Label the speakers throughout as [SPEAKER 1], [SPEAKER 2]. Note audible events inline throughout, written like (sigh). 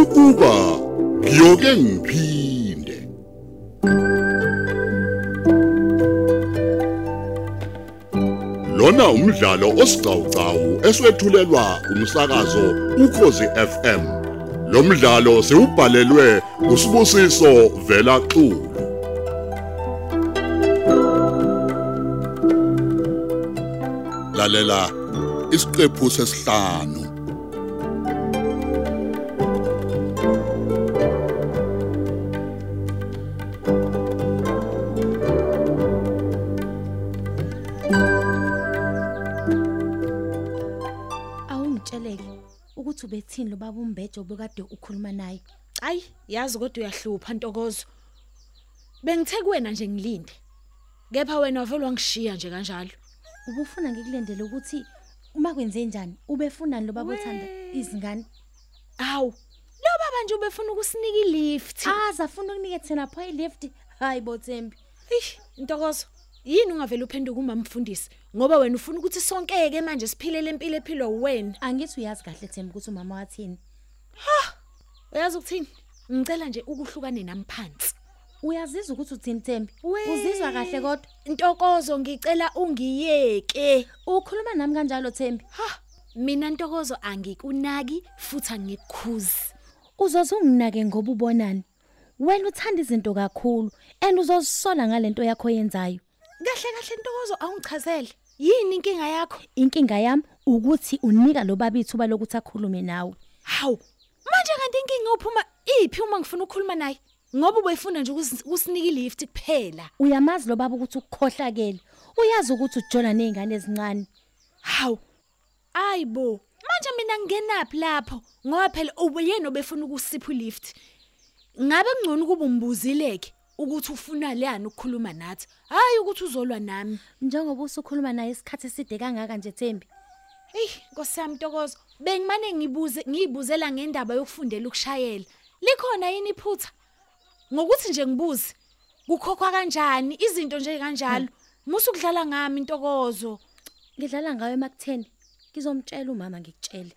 [SPEAKER 1] ukuba ngiyoke ngiphinde lona umdlalo osiqhawqhawo eswethulelwa umsakazo ukhozi FM lo mdlalo siubhalelwe usibusiso vela xulu lalela isiqephu sesihlanu
[SPEAKER 2] awungitsheleke ukuthi ubethini lo baba umbhejo obekade ukhuluma naye
[SPEAKER 3] Hayi, yazi kodwa uyahlupha Ntokozo. Bengithe kuwena nje ngilinde. Kepha wena vele wangishiya nje kanjalo.
[SPEAKER 2] ubufuna ngikulendele ukuthi uma kwenze njani ubefunani lo baba othanda izingane
[SPEAKER 3] Awu, lo baba nje ubefuna ukusinika ilift.
[SPEAKER 2] aza afuna ukunike thena pho i-lift hayi bothembi
[SPEAKER 3] Eish, Ntokozo, yini ungavela uphenduka uma mfundisi? Ngoba wena ufuna ukuthi sonkeke manje siphilele impilo ephilwa uwena.
[SPEAKER 2] angithi uyazi kahle thembi ukuthi umama wathini
[SPEAKER 3] Uyazi ukuthini? Ngicela nje ukuhlukane nami phansi.
[SPEAKER 2] uyazizwa ukuthi uthini thembi
[SPEAKER 3] We.
[SPEAKER 2] uzizwa kahle kodwa
[SPEAKER 3] Ntokozo ngicela ungiyeke.
[SPEAKER 2] ukhuluma nami kanjalo thembi
[SPEAKER 3] Ha, mina Ntokozo angikunaki futhi angikukhuzi.
[SPEAKER 2] uzoze unginake ngoba ubonani wena uthanda izinto kakhulu and uzozisola ngalento yakho oyenzayo
[SPEAKER 3] Kahle kahle Ntokozo awungichazele. Yini inkinga yakho?
[SPEAKER 2] inkinga yami ukuthi unika lo baba ithuba lokuthi akhulume nawe
[SPEAKER 3] Hawu, manje kanti inkinga uphuma iphi uma ngifuna ukukhuluma naye? Ngoba ubeyifuna nje ukusi- ukusinika ilift kuphela.
[SPEAKER 2] uyamazi lo baba ukuthi ukukhohlakele uyazi ukuthi ujona nezingane ezincane
[SPEAKER 3] Hawu. Ayibo, manje mina ngingenapi lapho? Ngoba phela ubuyena obefuna ukusipha ilift. Ngabe kungcono kuba umbuzileke ukuthi ufuna lana ukukhuluma nathi. Hayi ukuthi uzolwa nami.
[SPEAKER 2] njengoba usukhuluma naye isikhathi eside kangaka nje Thembi
[SPEAKER 3] Hey, Nkosi yami Ntokozo, bengimane ngibuze ngiyibuzela ngendaba yokufundela ukushayela. Likhona yini iphutha? Ngokuthi nje ngibuze, kukhokhwa kanjani izinto nje kanjalo? Musu kudlala ngami Ntokozo.
[SPEAKER 2] ngidlala ngawe emakutheni ngizomtshela umama ngikutshele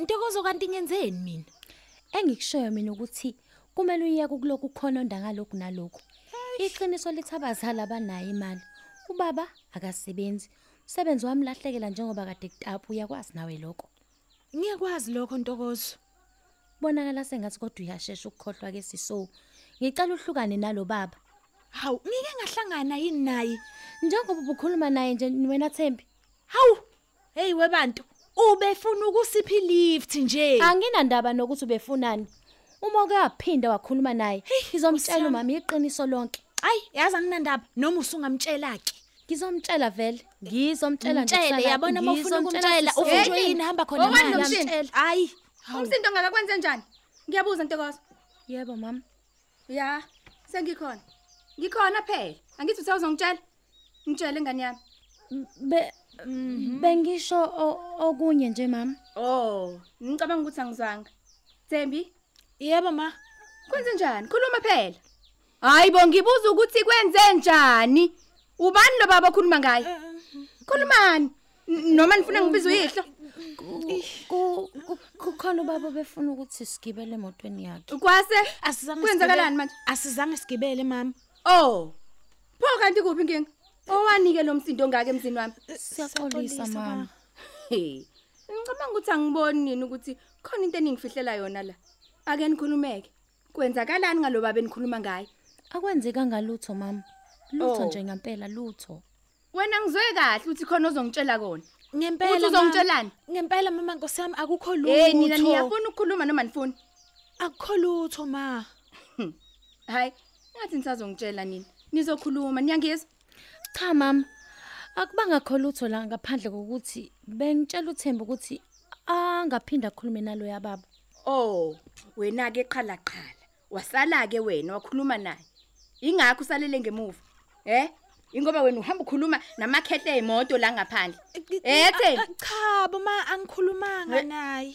[SPEAKER 3] Ntokozo kanti ngenzeni mina?
[SPEAKER 2] engikushoyo mina ukuthi kumele uyeke ukuloku khononda ngalokhu nalokhu iqiniso lithabazala abanayo imali ubaba akasebenzi umsebenzi wamlahlekela njengoba kade kutapu uyakwazi nawe lokho
[SPEAKER 3] Ngiyakwazi lokho Ntokozo.
[SPEAKER 2] bonakala sengathi kodwa uyashesha ukukhohlwa ke siso ngicela uhlukane nalo baba
[SPEAKER 3] Hawu, ngike ngahlangana yini naye?
[SPEAKER 2] njengoba ubukhuluma naye nje wena Thembi
[SPEAKER 3] Hawu. Hey webantu, ubefuna ukusipha ilift nje.
[SPEAKER 2] anginandaba nokuthi ubefunani uma uke waphinda wakhuluma naye ngizomtshela
[SPEAKER 3] Nkosi
[SPEAKER 2] umama iqiniso lonke
[SPEAKER 3] Ayi, yazi anginandaba noma usungamtshela ke.
[SPEAKER 2] ngizomtshela vele ngizomtshela nje
[SPEAKER 3] Mtshele
[SPEAKER 2] kusasa,
[SPEAKER 3] yabona uma ufuna
[SPEAKER 2] ngizomtshela
[SPEAKER 3] ukumtshela
[SPEAKER 2] sisonke.
[SPEAKER 4] ufuna
[SPEAKER 3] ufunjwe
[SPEAKER 4] Hey,
[SPEAKER 3] yini hamba khona
[SPEAKER 4] wobani
[SPEAKER 3] manje.
[SPEAKER 4] nomshini?
[SPEAKER 3] Mtshele. Hayi.
[SPEAKER 4] Umsindo ngaka kwenze njani? Ngiyabuza Ntokozo.
[SPEAKER 2] yebo mama
[SPEAKER 4] Ya, sengikhona. Ngikhona phela. Angithi uthe uzongitshela. Ngitshele ngani yami?
[SPEAKER 2] Be-
[SPEAKER 3] Mhm.
[SPEAKER 2] bengisho o- okunye nje mama
[SPEAKER 4] Oh, ngicabanga ukuthi angizwanga. Thembi,
[SPEAKER 3] Yebo ma.
[SPEAKER 4] kwenze njani? Khuluma phela. Hayibo, ngibuza ukuthi kwenze njani? Ubani lo baba okhuluma ngaye? Khulumani. N- Noma nifuna ngibize uyihlo?
[SPEAKER 2] Ku- ku- kukhona ubaba befuna ukuthi sigibele emotweni yakhe
[SPEAKER 4] Kwase
[SPEAKER 3] Asizange sigibele-
[SPEAKER 4] Kwenzakalani manje?
[SPEAKER 3] Asizange sigibele mama.
[SPEAKER 4] Oh. Pho kanti kuphi inkinga? Owanike lo msindo ngaka emzini wami?
[SPEAKER 2] siyaxolisa mama
[SPEAKER 4] Hey. Ngicabanga ukuthi angiboni nini ukuthi khona into eningifihlela yona la. Ake nikhulumeke. Kwenzakalani ngaloba benikhuluma ngaye?
[SPEAKER 2] akwenzeka ngalutho mama lutho
[SPEAKER 4] Oh.
[SPEAKER 2] nje ngempela lutho
[SPEAKER 4] Wena ngizwe kahle ukuthi khona ozongitshela kona.
[SPEAKER 3] Ngempela
[SPEAKER 4] Uthi
[SPEAKER 3] ma.
[SPEAKER 4] uzongitshelani?
[SPEAKER 3] Ngempela mama Nkosi yami akukho lutho.
[SPEAKER 4] Hey Eh, nina niyafuna ukukhuluma noma nifuni?
[SPEAKER 3] Akukho lutho ma.
[SPEAKER 4] Hayi, ngathi nisazongitshela nini. Nizokhuluma, niyangizwa?
[SPEAKER 2] cha mama akubangakho lutho la ngaphandle kokuthi bengitshela uThembi ukuthi angaphinda akhulume nalo yababa
[SPEAKER 4] Oh, wena ke qhala qhala. Wasala ke wena wakhuluma naye. Ingakho usalele ngemuva. Eh? Ingoba wena uhamba ukhuluma namakhehle emoto la ngaphandle. Eh, Thembi.
[SPEAKER 3] A- a- Cha bo ma angikhulumanga naye.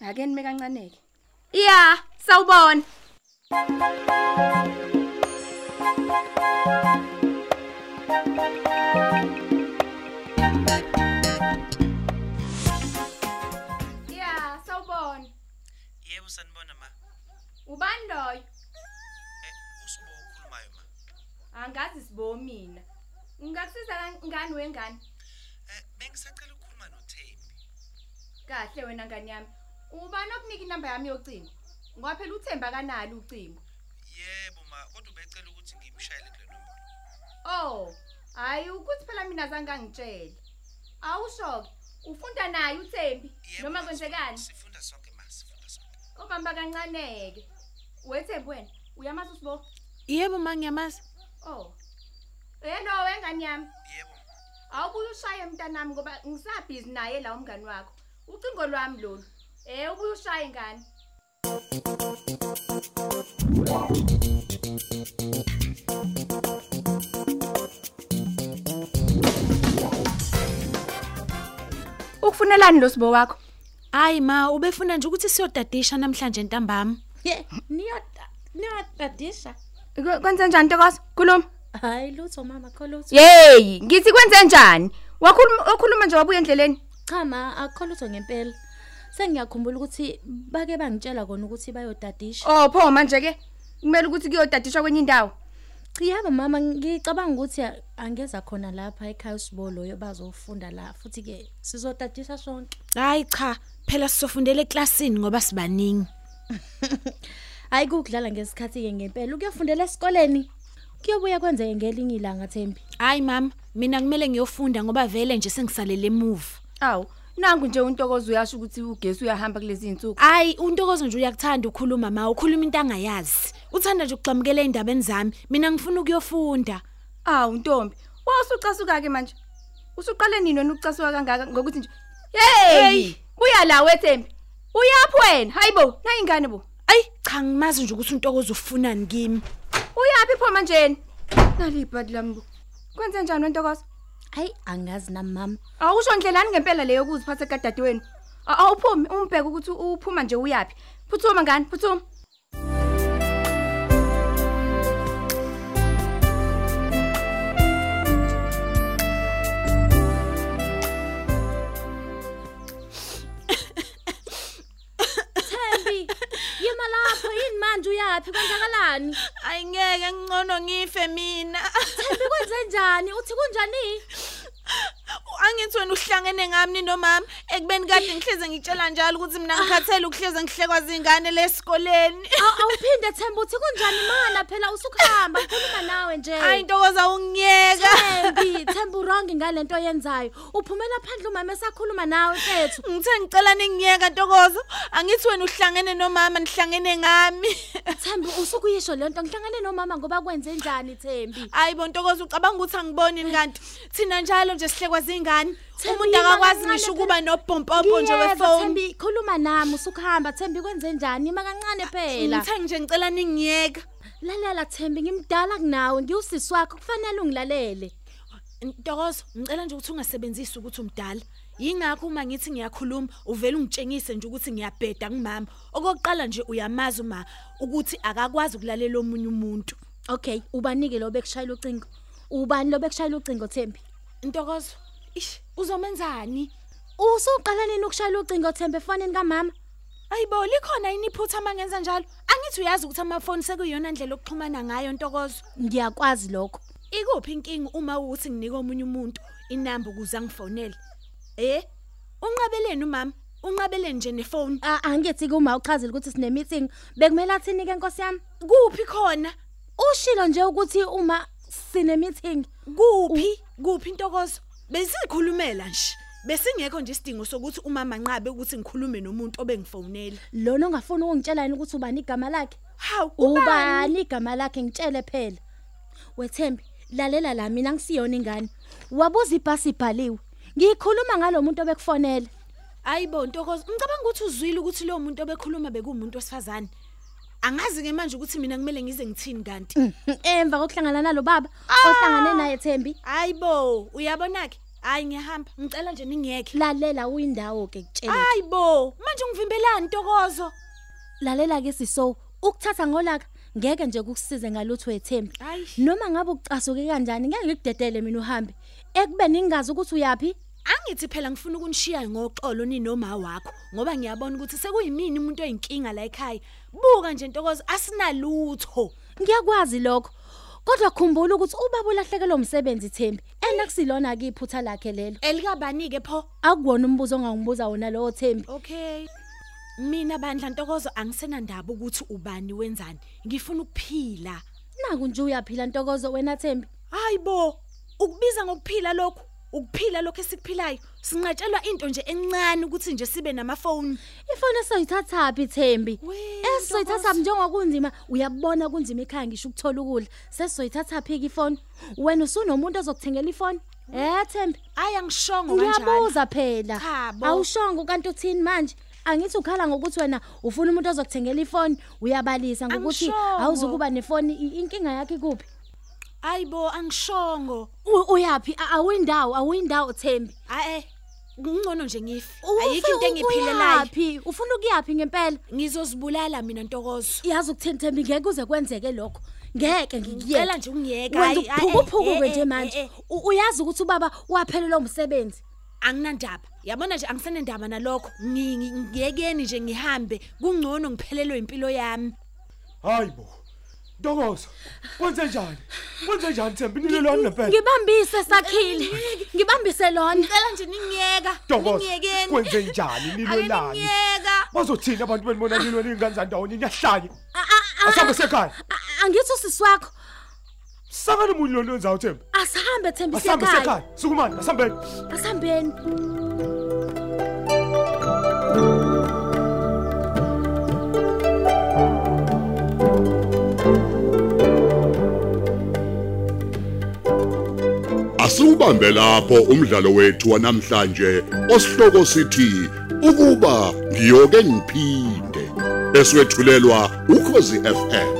[SPEAKER 4] Ake nime kancaneke. Ya, sawubona. Ya, sawubona.
[SPEAKER 5] Yebo sanibona ma.
[SPEAKER 4] Ubani loyo?
[SPEAKER 5] Eh usibo okhulumayo ma.
[SPEAKER 4] Angazi sibo mina. Ungakusiza kan- ngani wengane?
[SPEAKER 5] Eh bengisacela ukukhuluma noThembi.
[SPEAKER 4] Kahle wena ngani yami. Ubani okunika inamba yami yocingo? Ngoba phela uthemba kanalo ucingo.
[SPEAKER 5] Yebo ma, kodwa ubecela ukuthi ngimshayele kule nombolo.
[SPEAKER 4] Oh, hayi ukuthi phela mina azange angitshele. Awusho ufunda naye uThembi
[SPEAKER 5] Yebo,
[SPEAKER 4] noma
[SPEAKER 5] ma,
[SPEAKER 4] kwenzekani?
[SPEAKER 5] Sifunda sonke ma, sifunda sonke.
[SPEAKER 4] Ubamba kancaneke. Wethembi wena, uyamazi usibo?
[SPEAKER 3] Yebo mangiyamazi.
[SPEAKER 4] Oh. Hello wengane yami.
[SPEAKER 5] Yebo. ma.
[SPEAKER 4] Awubuye ushaye mntanami ngoba ngisabhizi naye la umngani wakho. Ucingo lwami lolu. Eh ubuye ushaye ngani? Ukufunelani lo sibo wakho?
[SPEAKER 3] Hayi ma, ubefuna nje ukuthi siyodadisha namhlanje ntambama.
[SPEAKER 2] Ye, niyoda- niyotadisha.
[SPEAKER 4] Kwenze njani Ntokozo? Khuluma.
[SPEAKER 2] Hayi lutho mama, kho lutho.
[SPEAKER 4] Hey, ngithi kwenze njani? Wakhuluma okhuluma nje wabuya endleleni.
[SPEAKER 2] Cha ma, akukho lutho ngempela. Sengiyakhumbula ukuthi bake bangitshela kona ukuthi bayodadisha.
[SPEAKER 4] Oh, pho manje ke kumele ukuthi kuyodadishwa kwenye indawo.
[SPEAKER 2] Yebo mama ngicabanga ukuthi a- angeza khona lapha ekhaya usibo loyo bazofunda la futhi ke sizotadisha sonke.
[SPEAKER 3] Hayi cha, phela sizofundela eklasini ngoba sibaningi.
[SPEAKER 2] (laughs) Hayi kudlala ngesikhathi ke ngempela ukuyofundela esikoleni. Kuyobuya kwenzeke ngelinye ilanga Thembi.
[SPEAKER 3] Hayi mama, mina kumele ngiyofunda ngoba vele nje sengisalele emuva.
[SPEAKER 4] Awu, nangu nje untokozo uyasho ukuthi ugesi uyahamba kulezi insuku.
[SPEAKER 3] Hayi, untokozo nje uyakuthanda ukukhuluma ma, ukhuluma into angayazi. Uthanda nje ukugxamukela indabeni zami. Mina ngifuna ukuyofunda.
[SPEAKER 4] Awu Ntombi, wasucasuka ke manje. Usuqale nini wena ukucasuka kangaka ngokuthi nje hey, buya la wethembi. Uyaphi wena? Hayibo, nayi ingane bo.
[SPEAKER 3] Ayi, cha ngimazi nje ukuthi untokozo ufunani kimi.
[SPEAKER 4] Uyaphi pho manje yena? Nali ibhadi lami bo. Kwenze njani wentokozo?
[SPEAKER 2] Hayi angazi nami mama.
[SPEAKER 4] Awusho ndlelani ngempela leyo kuziphatha kadade wenu. A- Awuphumi umbheke ukuthi uphuma nje uyaphi. Phuthuma ngani? Phuthuma.
[SPEAKER 2] Thembi, yema lapho yini manje uyaphi kwenzakalani?
[SPEAKER 3] Ayi ngeke ngcono ngife mina.
[SPEAKER 2] Thembi kwenze njani? Uthi kunjani?
[SPEAKER 3] Angithi wena uhlangene ngami nomama ekubeni kade ngihleze ngitshela njalo ukuthi mina ngikhathele ukuhleze ngihlekwa zingane lesikoleni.
[SPEAKER 2] Aw- Awuphinde Thembi uthi kunjani mana phela usukhamba ukhuluma nawe nje.
[SPEAKER 3] Hayi intokozo ungiyeka.
[SPEAKER 2] Thembi, Thembi wrong ngalento oyenzayo. Uphumela phandle umama esakhuluma nawe mfethu.
[SPEAKER 3] Ngithe ngicela ningiyeka Ntokozo, angithi wena uhlangene nomama nihlangene ngami. (laughs)
[SPEAKER 2] Thembi usukuyisho lento ngihlangane nomama ngoba kwenze njani Thembi?
[SPEAKER 3] Hayi bo Ntokozo ucabanga ukuthi angiboni ni kanti. Thina njalo nje sihlekwa zingane.
[SPEAKER 2] Thembi,
[SPEAKER 3] Umuntu akakwazi
[SPEAKER 2] kancane
[SPEAKER 3] ngisho
[SPEAKER 2] phela-
[SPEAKER 3] ukuba nobhompompo nje
[SPEAKER 2] Ngiyezwa,
[SPEAKER 3] wefoni.
[SPEAKER 2] Thembi khuluma nami usukhamba Thembi kwenze njani? Ima kancane phela.
[SPEAKER 3] Ngithe nje ngicela ningiyeka.
[SPEAKER 2] Lalela Thembi ngimdala kunawe ngiyusisi wakho kufanele ungilalele.
[SPEAKER 3] Ntokozo, ngicela nje ukuthi ungasebenzisi ukuthi umdala. Yingakho uma ngithi ngiyakhuluma uvela ungitshengise nje ukuthi ngiyabheda kumama. Okokuqala nje uyamazi uma ukuthi akakwazi ukulalela omunye umuntu.
[SPEAKER 2] Okay, ubanike lo bekushayela ucingo. Ubani lo bekushayela ucingo Thembi?
[SPEAKER 3] Ntokozo, ish, uzomenzani?
[SPEAKER 2] Usuqala nini ukushayela ucingo Thembi efonini kamama?
[SPEAKER 3] Ayibo likhona yini iphutha amangenza njalo? Angithi uyazi ukuthi amafoni sekuyona indlela okuxhumana ngayo Ntokozo.
[SPEAKER 2] Ngiyakwazi lokho.
[SPEAKER 3] Ikuphi inkingi uma uthi nginike omunye umuntu inamba ukuze angifonele? Eh? Unqabeleni umama? Unqabeleni nje nefoni?
[SPEAKER 2] A- Angithi kuma uchazile ukuthi sine meeting bekumele athini ke Nkosi yami?
[SPEAKER 3] Kuphi khona?
[SPEAKER 2] Ushilo nje ukuthi uma sine meeting
[SPEAKER 3] Kuphi? Kuphi Ntokozo? Besikhulumela nje. Besingekho nje isidingo sokuthi umama nqabe ukuthi ngikhulume nomuntu obengifonela.
[SPEAKER 2] lona ongafuni ukungitshela yini ukuthi ubani igama lakhe?
[SPEAKER 3] Hawu ubani?
[SPEAKER 2] Ubani igama lakhe ngitshele phela. Wethembi, lalela la mina ngisiyona ingane. Wabuza ibhasi ibhaliwe. Ngikhuluma ngalomuntu obekufonela.
[SPEAKER 3] Ayibo Ntokozo, ngicabanga ukuthi uzwile ukuthi lo muntu obekhuluma bekumuntu wesifazane. Angazi ke manje ukuthi mina kumele ngize ngithini kanti.
[SPEAKER 2] Emva kokuhlangana nalo baba ohlangane naye Thembi,
[SPEAKER 3] Hayibo, uyabona ke? Hayi ngiyahamba, ngicela nje ningiyeke.
[SPEAKER 2] lalela uyindawo ke kutshela.
[SPEAKER 3] Ah! Hayibo, manje ungivimbelani Ntokozo?
[SPEAKER 2] Lalela ke siso, ukuthatha ngolaka ngeke nje kukusize ngalutho eThembi.
[SPEAKER 3] Hayi.
[SPEAKER 2] Noma ngabe ucasuke kanjani ngeke ngikudedele mina uhambe. Ekubeni ngingazi ukuthi uyapi?
[SPEAKER 3] Angithi phela ngifuna ukunishiya ngoxolo ninoma wakho ngoba ngiyabona ukuthi sekuyimini umuntu oyinkinga la ekhaya. Buka nje Ntokozo asinalutho.
[SPEAKER 2] Ngiyakwazi lokho. Kodwa khumbula ukuthi ubaba ulahlekelwe umsebenzi Thembi, ena kusilona ke iphutha lakhe lelo.
[SPEAKER 3] Elikabani ke pho?
[SPEAKER 2] Akuwona umbuzo ongangibuza wona lowo Thembi.
[SPEAKER 3] Okay. Mina bandla Ntokozo angisenandaba ukuthi ubani wenzani. Ngifuna ukuphila.
[SPEAKER 2] Naku nje uyaphila Ntokozo wena Thembi.
[SPEAKER 3] Hayibo, ukubiza ngokuphila lokhu. Ukuphila lokho esikuphilayo. Sinqatshelwa into nje encane ukuthi nje sibe namafoni.
[SPEAKER 2] Ifoni esoyithathaphi Thembi?
[SPEAKER 3] We,
[SPEAKER 2] Esoyithatha
[SPEAKER 3] Ntokozo.
[SPEAKER 2] njengoba kunzima, uyabona kunzima ekhaya ngisho ukuthola ukudla. Sesoyithathaphi ke ifoni? Wena usunomuntu ozokuthengela ifoni? Eh Thembi,
[SPEAKER 3] Hayi angishongo kanjalo.
[SPEAKER 2] uyabuza phela.
[SPEAKER 3] Cha bo.
[SPEAKER 2] Awushongo kanti uthini manje? Angithi ukhala ngokuthi wena ufuna umuntu ozokuthengela ifoni, uyabalisa ngokuthi
[SPEAKER 3] Angishongo.
[SPEAKER 2] awuzukuba nefoni, i- inkinga yakhe ikuphi?
[SPEAKER 3] Hayibo angishongo.
[SPEAKER 2] U- Uyapi awindawo awindawo Thembi
[SPEAKER 3] Aye. Ngcono eh, nje ngife.
[SPEAKER 2] Ufike
[SPEAKER 3] Ayikho into engiphilelayo.
[SPEAKER 2] ukuyaphi? ufuna ukuyapi ngempela
[SPEAKER 3] Ngizozibulala mina Ntokozo.
[SPEAKER 2] yazi ukuthini Thembi ngeke uze kwenzeke lokho ngeke ngikuyela
[SPEAKER 3] Ngicela nje ungiyeke eh,
[SPEAKER 2] uphukuphuku nje manje U- uyazi ukuthi ubaba waphelelwa umsebenzi
[SPEAKER 3] Anginandaba. Yabona nje angisenendaba nalokho. Ngi- ngi- Ngiyekeni nje ngihambe. Kungcono ngiphelelwe impilo yami.
[SPEAKER 6] hayi bo ntokozo kwenze njani kwenze njani thembi nilelwani nempela
[SPEAKER 2] ngibambise sakhile ngibambise lona
[SPEAKER 3] Ngicela nje ningiyeka.
[SPEAKER 6] ntokozo kwenze njani nilwelani
[SPEAKER 3] Ngiyeka.
[SPEAKER 6] bazothina abantu benibona nilweni ingane zandawoni niyahlanye
[SPEAKER 2] A- a- a-
[SPEAKER 6] asambe sekhaya
[SPEAKER 2] a- angithi usisi wakho
[SPEAKER 6] sakani umuntu lona wenzayo thembi
[SPEAKER 2] asihambe Thembi
[SPEAKER 6] asambe
[SPEAKER 2] sekhaya
[SPEAKER 6] sekhaya sukumani asambeni
[SPEAKER 2] asihambeni
[SPEAKER 1] Asubambe lapho umdlalo wethu wanamhlanje osihloko sithi ukuba ngiyoke ngiphinde eswetshulelwa ukhozi FM